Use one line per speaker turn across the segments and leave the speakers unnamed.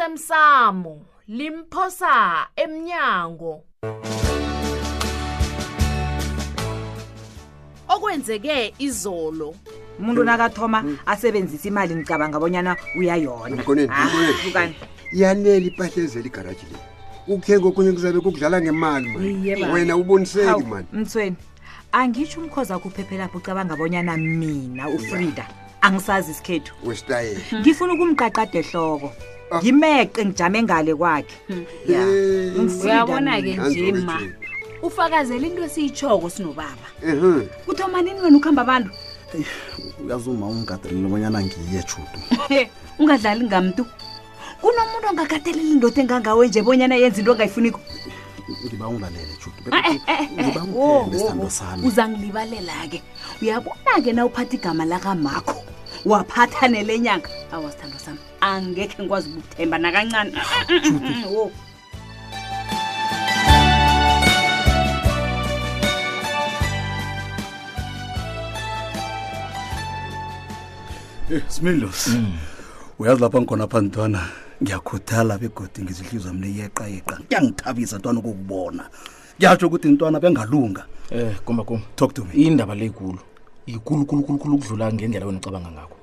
osemsamo limphosa emnyango okwenzeke izolo
umuntu nakathoma asebenzisa imali ngicabanga bonyana uyayona
Mkhoneni,
Ah,
mkhoneni.
hlukani.
yanele impahla ezela igaraji le ukuthenga okunye kuzabe kukudlala ngemali
Iye,
mani
baba.
wena uboniseki
Hawu,
mani
mthweni angitsho umkhoza akho uphephe lapho ucabanga bonyana mina ufrida angisazi isikhethu
wesitayela
ngifuna ukumqaqada ehloko
Ah.
ngimeqe ngijame ngale kwakhe Ya.
Eh,
Umfrida
Hmm. uyabona-ke
mina.
nanzo
nje ma
bethu.
ufakazela into esiyitshoko sinobaba
Ehhe.
kuthomanini wena ukuhamba abantu
uyazi uma ungigadelele obanyana ngiye judu
He, ungadlali ngamntu kunomuntu ongakateleli indoda engangawe nje bonyana yenza into ongayifuniko
ngiba ungilalele judu
Ah, eh,
Wo,
ngiba
wo, wo.
isithando sami
uzangilibalela-ke uyabona-ke na uphatha igama lakamakho waphatha nelenyanga awasithando sami angekhe ngikwazi ukukuthemba nakancane wo
smilos uyazi lapha ngikhona pha ntwana ngiyakhuthala begodi ngizihliyo zami leyeqayeqa kuyangithabisa ntwana ukukubona kuyatsho ukuthi ntwana bengalunga
Eh kuma kuma.
talk to me
Indaba leyikhulu. Ikulu kulu kulu kulu ukudlula ngendlela wena ucabanga ngakho.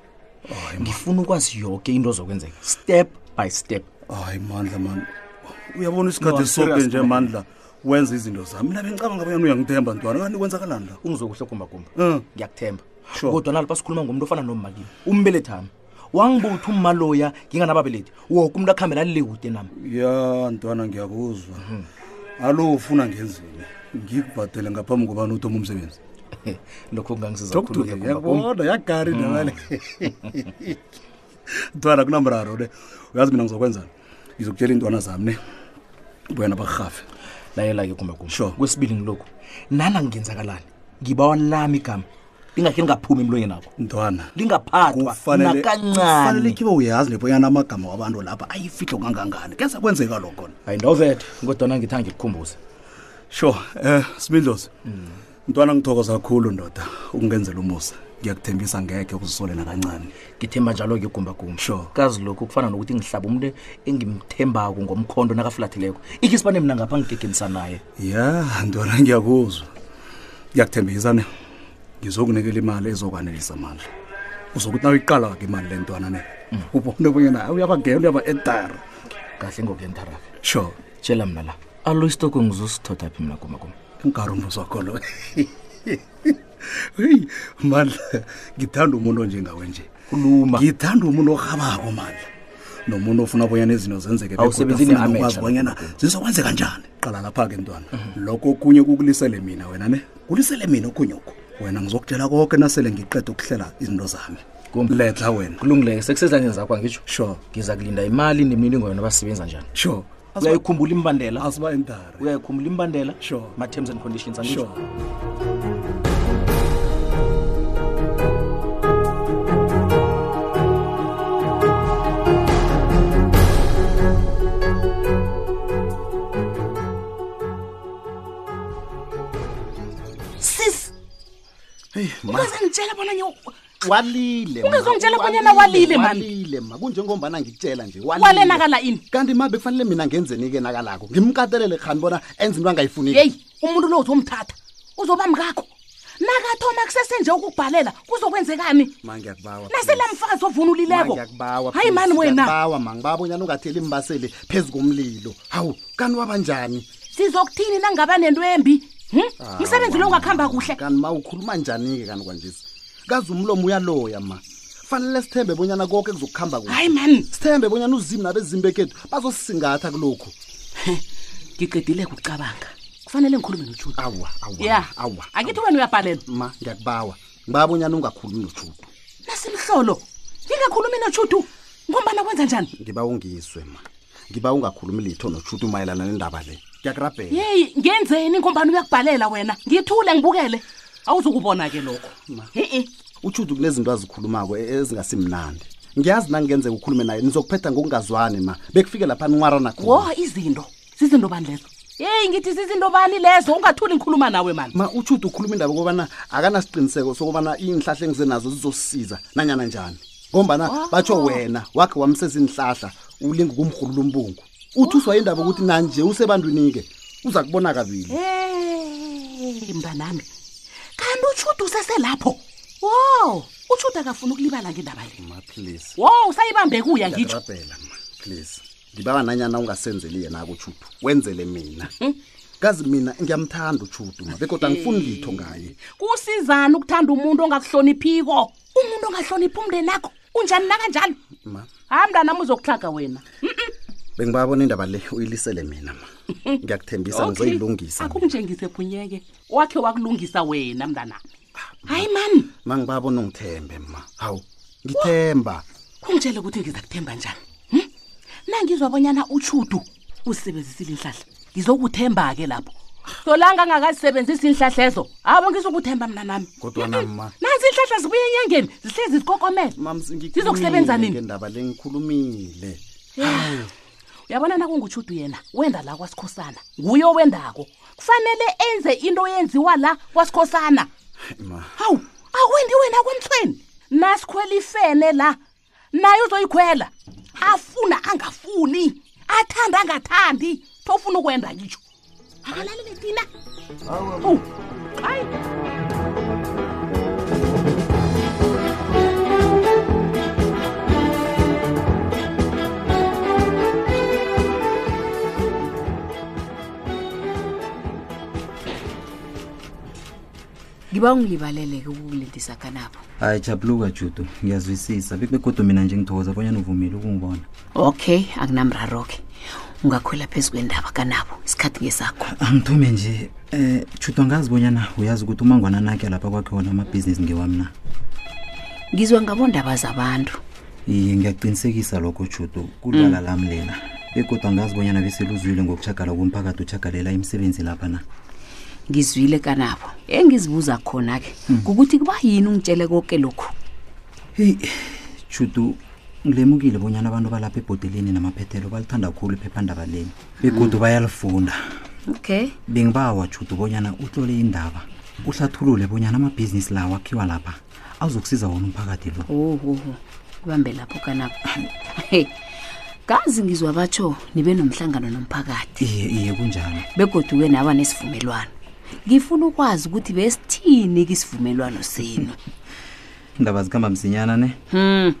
Ngifuna ukwazi yonke into ozokwenzeka step by step.
hayi mandla mani uyabona
No,
isikhathi
I'm
soke
serious,
nje
man.
mandla wenza izinto zami mina bengicabanga bonyana uyangithemba ntwana kanti kwenzakalani la
Ungizokuhle kuma kuma.
Mm.
Ngiyakuthemba.
Sure.
Kodwa nalapha sikhuluma ngomuntu ofana nomakini. Umbelethami. Wangibuthi umaloya nginganababelethi. Wonke umuntu akhambelani le kude nami.
ya ntwana ngiyakuzwa
Hmm.
alo ufuna ngenzini ngikubhadele ngaphambi kobani uthoma umsebenzi
Lokho kungangisiza
Talk to Mm.
kakhulu
me.
kuma kuma.
yakubona yagari ndabale ntwana kunamraro ne uyazi mina ngizokwenzani ngizokutshela iintwana zami ne buyena bakurhafe
Lalela ke kuma kuma.
Sure.
Kwesibili ngilokho. Nana ngingenzakalani. Ngibawa lami igama. Lingakhe lingaphuma emlonyeni nakho.
ntwana
lingaphathwa
kufanele kufanele
nakancane
khibe uyazi nebonyana amagama wabantu lapha ayifihlo kangangani kese kwenzeka lokho na.
i know that kodwana ngithanga ngikukhumbuze
sure um smidlos ntwana ngithokoza kakhulu ndoda ukungenzela umusa ngiyakuthembisa ngekhe ukuzisole nakancane
ngithemba njalo-ke gumbagumba
Sure.
kazi lokhu kufana nokuthi ngihlaba umuntu engimthembako ngomkhondo nakafulathileko ikhe sibane mina ngapha ngigegenisa naye
ya ntwana ngiyakuzwa ngiyakuthembisa ne ngizokunikela imali ezokwanelisa amandla uzokuthi nawe iqala-ke imali le ntwana ne ubone bonyana hayi uyabagela uyaba-edara
kahle ngokuyentarabe
sure
tshela mina la alo isitoko ngizosithotha phi mina gumbagumba
inkari umbuzo wakho lo heyi mandla ngithanda umuntu onjengawe nje
Khuluma.
ngithanda umuntu orhabako mandla nomuntu ofuna bonyana izinto zenzeke begodu
Awusebenzi
afuna
ne-amateur
nokwazi
lapho Mhm.
bonyana zizokwenzeka njani qala lapha-ke ntwana lokho okunye kukulisele mina wena ne kulisele mina okhunyeku wena ngizokutshela konke nasele ngiqeda ukuhlela izinto zami
Kumba.
letla wena
kulungileke sekusezandleni zakho angitsho
sure
ngiza kulinda imali nemininingwane wena basebenza njani
sure
uyayikhumbula imbandela
asiba-entare
uyayikhumbula imbandela
Sure.
ma-terms and conditions angitsho
sure
sis
heyi ma
ungazangitshela bona nje u-
walile ma.
Ungazongitshela bonyana walile, man.
Walile, ma kunjengombana ngikutshela nje
walelakala ini
kanti ma bekufanele mina ngenzeni-ke nakalako ngimkatelele khani bona enza into angayifuniki
yeyi umuntu lo uzomthatha uzoba mkakho nakathoma kusesenje ukukubhalela kuzokwenzekani
ma ngiyakubawa
nasela mfazi ovunulileko
Mangiyakubawa,
hayi
please,
mani wena
ngiyakubawa, ma ngibaba bonyana ungatheli imbaseli phezu komlilo hawu kanti wabanjani
sizokuthini nangaba nento embi hm?
Ah,
msebenzi lo ungakuhamba kuhle
kanti ma ukhuluma njani-ke kanti kwanjesi kazi umlomo uyaloya ma fanele sithembe bonyana konke kuzokuhamba kuhle
hayi mani
sithembe bonyana uzimu nabezimu bekhethu bazosisingatha kulokhu
ngiqedile kucabanga kufanele ngikhulume nojuda
awa awa
ya
awa
akithi wena uyabhalela
ma ngiyakubawa ngibaba bonyana ungakhulumi nojudu
nasimhlolo ngingakhulumi nojudu ngombana kwenza njani
ngiba ungiswe ma ngiba ungakhulumi litho nojudu mayelana nendaba le ngiyakurabhela
yeyi ngenzeni ngombana uyakubhalela wena ngithule ngibukele awuzukubona ke lokho
Ma.
e-e
ujudu kunezinto azikhulumako e- ezingasimnandi ngiyazi nangenzeka ukhulume naye nizokuphetha ngokungazwani ma bekufike lapha niwara nakhona
wo izinto zizinto bani lezo yeyi ngithi zizinto bani lezo ungathuli ngikhuluma nawe mani
ma ujudu ukhuluma indaba kobana akanasiqiniseko sokubana iinhlahla engize nazo zizosisiza nanyana njani
ngombana batsho wena wakhe wamsezinhlahla ulinga ukumrhulula umbungu uthi uswa indaba ukuthi nanje usebantwini-ke uza kubona kabili
Hey, mntanami kanti utshuda useselapho wo utshuda akafuni ukulibala ngendaba le
maplisi
wo usayibambe kuya ngitsho
ngiyakurabhela ma please ngibawa nanyana ungasenzeli yena kuchudu wenzele mina kazi mina ngiyamthanda uchudu ma bekodwa angifuni litho ngaye
kusizana ukuthanda umuntu ongakuhloniphiko umuntu ongahloniphi umndeni akho unjani nakanjalo
ma
hayi mntanami uzokuhlaga wena
bengibabona indaba le uyilisele mina ma ngiyakuthembisa ngizoyilungisa
akunjengise phunyeke wakhe wakulungisa wena mntanami hayi mani
ma ngibabona ungithembe ma hawu ngithemba
kungitshele ukuthi ngiza kuthemba njani hm? nangizwa bonyana utshudu usisebenzisile inhlahla ngizokuthemba-ke lapho solanga angakazisebenzisi iinhlahla ezo abo ngizokuthemba mna nami
Kodwana, ma-
nansi iinhlahla zibuye enyangeni zihlezi zikokomela
Mamsi, ngikhulumile
zizokusebenza nini
ngendaba le ngikhulumile
uyabona nakungutshudu yena wenda la kwasikhosana nguye owendako kufanele enze into yenziwa la kwasikhosana
ma
hawu akwendi wena kwemthweni nasikhwela ifene la naye uzoyikhwela afuna angafuni athanda angathandi thofuna ukwenda kitsho akalalele tina Awu, hayi
ngiba ungilibaleleke ukukulindisa kanabo
hayi jabuluka judu ngiyazwisisa Be- begodwa mina nje ngithokoza abanyana uvumile ukungibona
okay akunamraro-ke ungakhwela phezu kwendaba kanabo isikhathi ngesakho
angithume nje um judu angazi bonyana uyazi ukuthi umangwana nakhe lapha kwakhe wona amabhizinisi ngewami na
ngizwa ngabondaba zabantu Mm.
iye ngiyaqinisekisa lokho judu kulala lami lela begodwa angazi bonyana beseluzwile ngokuchagala komphakathi uchagalela imisebenzi lapha na
ngizwile kanabo engizibuza khona-ke
Mm.
kukuthi kuba yini ungitshele konke lokhu
heyi judu ngilemukile bonyana abantu balapha ebhodeleni namaphethelo balithanda khulu iphephandaba leli begodwa bayalifunda
okay
bengibawa judu bonyana utlole indaba uhlathulule bonyana amabhizinisi la wakhiwa lapha awuzokusiza wona umphakathi lo
Oh.
ohoho ibambe oh, lapho kanabo hey kazi ngizwa batsho nibe nomhlangano nomphakathi
iye iye kunjalo
begoduke naba nesivumelwano ngifuna ukwazi ukuthi besithini kisivumelwano senu
indaba zikhamba msinyana ne
hmm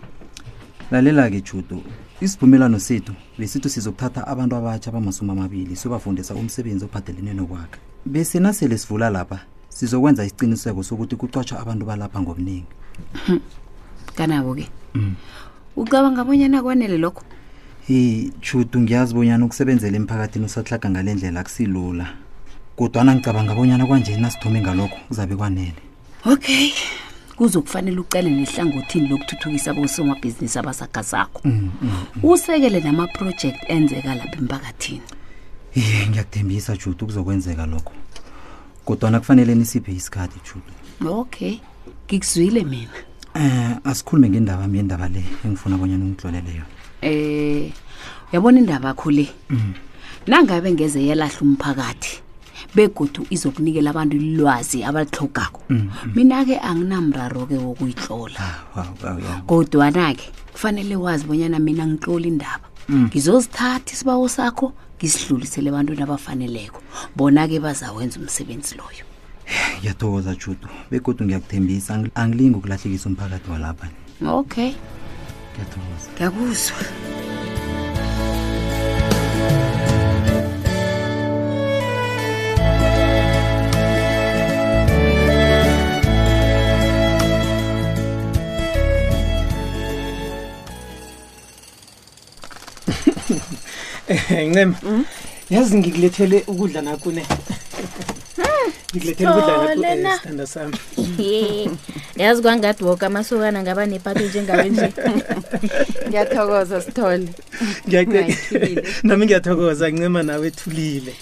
lalela-ke judu isivumelwano sethu besithi sizokuthatha abantu abatsha abamasumi amabili sobafundisa umsebenzi ophathelene nokwakha bese nasele sivula lapha sizokwenza isiqiniseko sokuthi kucwatshwa abantu balapha ngobuningi
kanabo-ke ucabanga abonyana kwanele lokho
heyi judu ngiyazi bonyana ukusebenzela emphakathini usahlaga ngale ndlela akusilula kodwana ngicabanga bonyana kwanje nasithome ngalokho kuzabe kwanele
okay kuzokufanele ucale nehlangothini lokuthuthukisa bosomabhizinisi abasagasakho mm. usekele namaprojekthi enzeka lapha emphakathini
iye ngiyakuthembisa judu kuzokwenzeka lokho kodwana kufanele nisiphe isikhathi judu
okay ngikuzwile mina
um asikhulume ngendaba mi yendaba le engifuna abanyana ungitlolele yona
eh yabona indaba yakho le nangabe ngeze yalahle umphakathi begodu izokunikela abantu ilwazi abalihlogako mina-ke anginamraro-ke wokuyitlola
Wow, wow, yeah.
kodwana-ke kufanele wazi bonyana mina ngitloli indaba ngizozithatha isibawo sakho ngisidlulisele ebantwini abafaneleko bona-ke bazawenza umsebenzi loyo
ngiyathokoza judu begodwa ngiyakuthembisa angi- angilingi ukulahlekisa umphakathi walapha
okay
ngiyathokoza
ngiyakuzwa
ncema
Hmm?
yazi ngikulethele ukudla nakune ngikulethele ukudla naku- eh,
Lena.
sithanda sami
Hmm, ye yazi kwangadi woke amasokana ngaba nepati njengawe nje ngiyathokoza sithole
Ngiyace-
Ungayithulile.
nami ngiyathokoza ncema nawe ethulile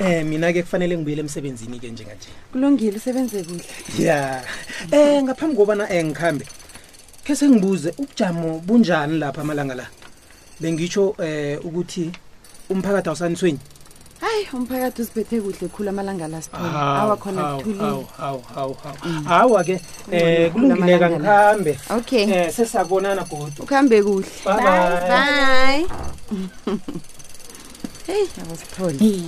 um mina-ke kufanele ngibuyele emsebenzini-ke njenganje
kulungile usebenze kuhle
ya um ngaphambi kobana um ngikhambe khe sengibuze ubujamo bunjani lapha amalanga la bengitsho um ukuthi umphakathi eh, awusanisweni
hayi umphakathi uziphethe kuhle khulu amalanga la sithola
Hawu,
awa khona
hawu,
kuthulile
hawu, hawu, hawu,
Mm.
hawu. hawa-ke
eh,
um
Khulu amalanga
kulungileka
la.
ngihambe
okay
um sesabonana godu
ukuhambe kuhle
Bye, bye.
bye heyi abasithole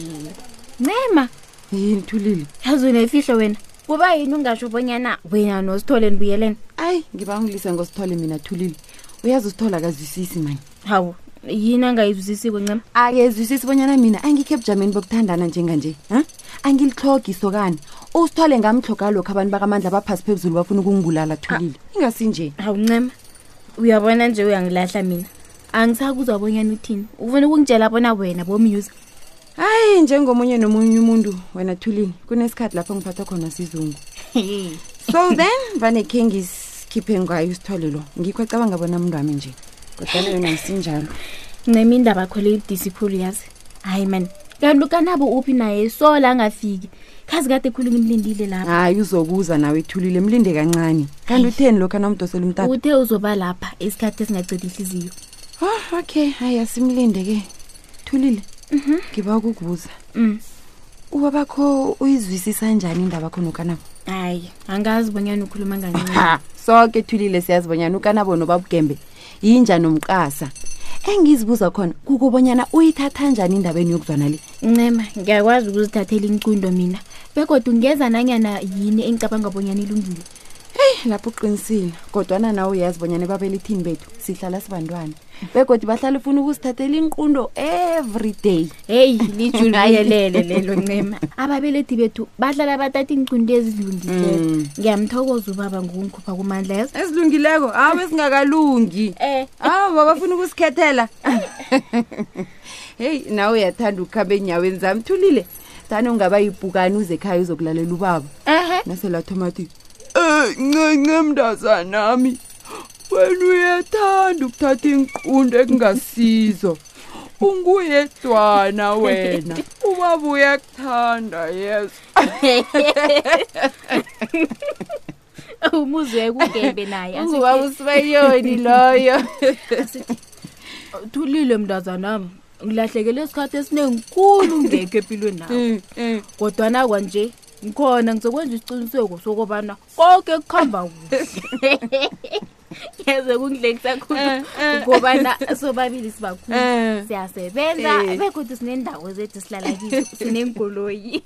ncema
yini thulile
yazi unefihlo wena kuba yini ungasho bonyana wena nosithole nibuyelene
ayi ngiba ungilise ngosithole mina thulile uyazi usithole akazwisisi mani
hawu yini angayizwisisiko ncema
akezwisisi bonyana mina angikho ebujameni bokuthandana njenganje ha angilihlogi isokane usithole ngamhloga lokhu abantu bakamandla baphasi phezulu bafuna ukungibulala thulile ingasinje
awuncema uyabona nje uyangilahla mina angisakuzwa bonyana uthini ufuna ukungitshela bona wena bomyuza
hayi njengomunye nomunye umuntu wena thulile kunesikhathi lapho ngiphathwa khona sizungu so then vane khe ngisikhiphe ngayo usithole lo ngikho acabanga bona mntu wami nje kodwana yona isinjalo
ncema indaba yakho le ibudisi khulu yazi hayi mani kanti ukanabo uphi naye sola angafiki khazi kade khulu ngimlindile lapha
hayi uzokuza nawe ethulile mlinde kancane kanti utheni lokhu anamdosela umtata
uthe uzoba lapha isikhathi esingacedi ihliziyo
oh, okay hayi asimlinde ke thulile ngiba ukukubuza uba bakho uyizwisisa njani indaba khona ukanabo
hayi angazi bonyana ukhuluma ngancema
Ha, soke thulile siyazibonyana ukanabo nobabugembe yinja nomqasa engizibuza khona kukubonyana uyithatha njani endabeni yokuzwana le
ncema ngiyakwazi ukuzithathela incundo mina begodwa ungeza nanyana yini engicabanga bonyana ilungile
heyi lapho uqinisile kodwana nawe uyazi bonyana babelithini bethu sihlala sibantwana begodi bahlala ufuna ukusithathela inqundo every day
heyi lijuliyelele lelo ncema ababelethi bethu bahlala batata iincundo ezilungileko
Mm.
ngiyamthokoza ubaba ngokungikhupha kumandla yazo
ezilungileko awu ezingakalungi
um
awu babafuna ukusikhethela heyi nawe uyathanda ukukhamba enyaweni zami thulile tani ungaba yibhukani uze ekhaya uzokulalela ubaba naselathoma thi um ncence mntazanami wena uyathanda ukuthatha inqundo ekungasizo unguyedwana wena ubaba uyakuthanda yeso
umuzwe kugembe naye asithi-
Ungubaba uSibayoni loyo.
Asithi, thulile mntazanami ngilahlekele isikhathi esinengikhulu ngekho empilweni
Mm,
nawo kodwana kwanje ngikhona ngizokwenza isiqiniseko sokobana konke kuhamba kuhle yeze kungilekisa khulu
Mm,
kobana sobabili sibakhulu
Eh.
siyasebenza
Eh.
bekodwa sinendawo zethu sihlala kizo sineenkoloyi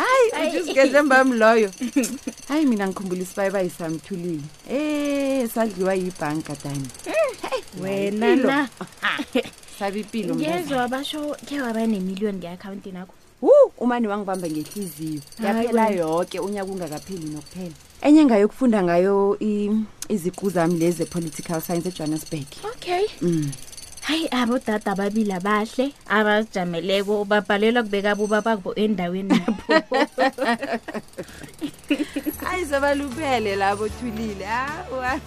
hayi
Ayi.
ujusigedle mbami loyo hayi mina ngikhumbula isibayibayi samthulile e sadliwa yibhanka dani
wena na
sabe ipilo
ngezwa basho khe waba nemiliyoni nge-akhawuntini akho
wu umane wangibamba ngehliziyo
Hayi
yaphela
wena.
yoke unyaka ungakapheli nokuphela enye ngayokufunda ngayo i- iziqu zami lezi ze-political science ejohannesburg
okay hayi abodada ababili abahle abazijameleko babhalelwa kubeka bobababo endaweni lapho
hayi zabalubele labo thulile awa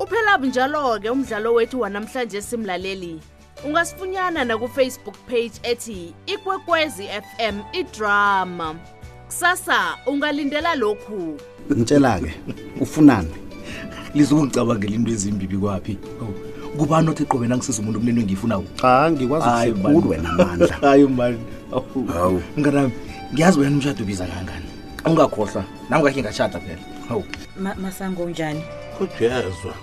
uphela bunjalo-ke umdlalo wethu wanamhlanje simlaleli ungasifunyana nakufacebook page ethi ikwekwezi fm idrama kusasa ungalindela lokhu
ngitshela-ke ufunani
lizokungicabangela into ezimbibi kwaphi kubani othi qobe nangisiza umuntu kunento engiyifunako
cha ngikwazi
kusekulu wena mandla hayi mani hawu mnganami ngiyazi wena umshado ubiza kangani ungakhohlwa nangakhe ngashada phela hawu
Ma- masango unjani
kujezwa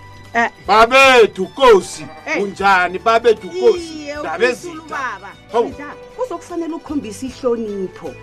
babethu kosi unjani babethu kosi ndabezitha
kuzokufanele ukukhombisa ihlonipho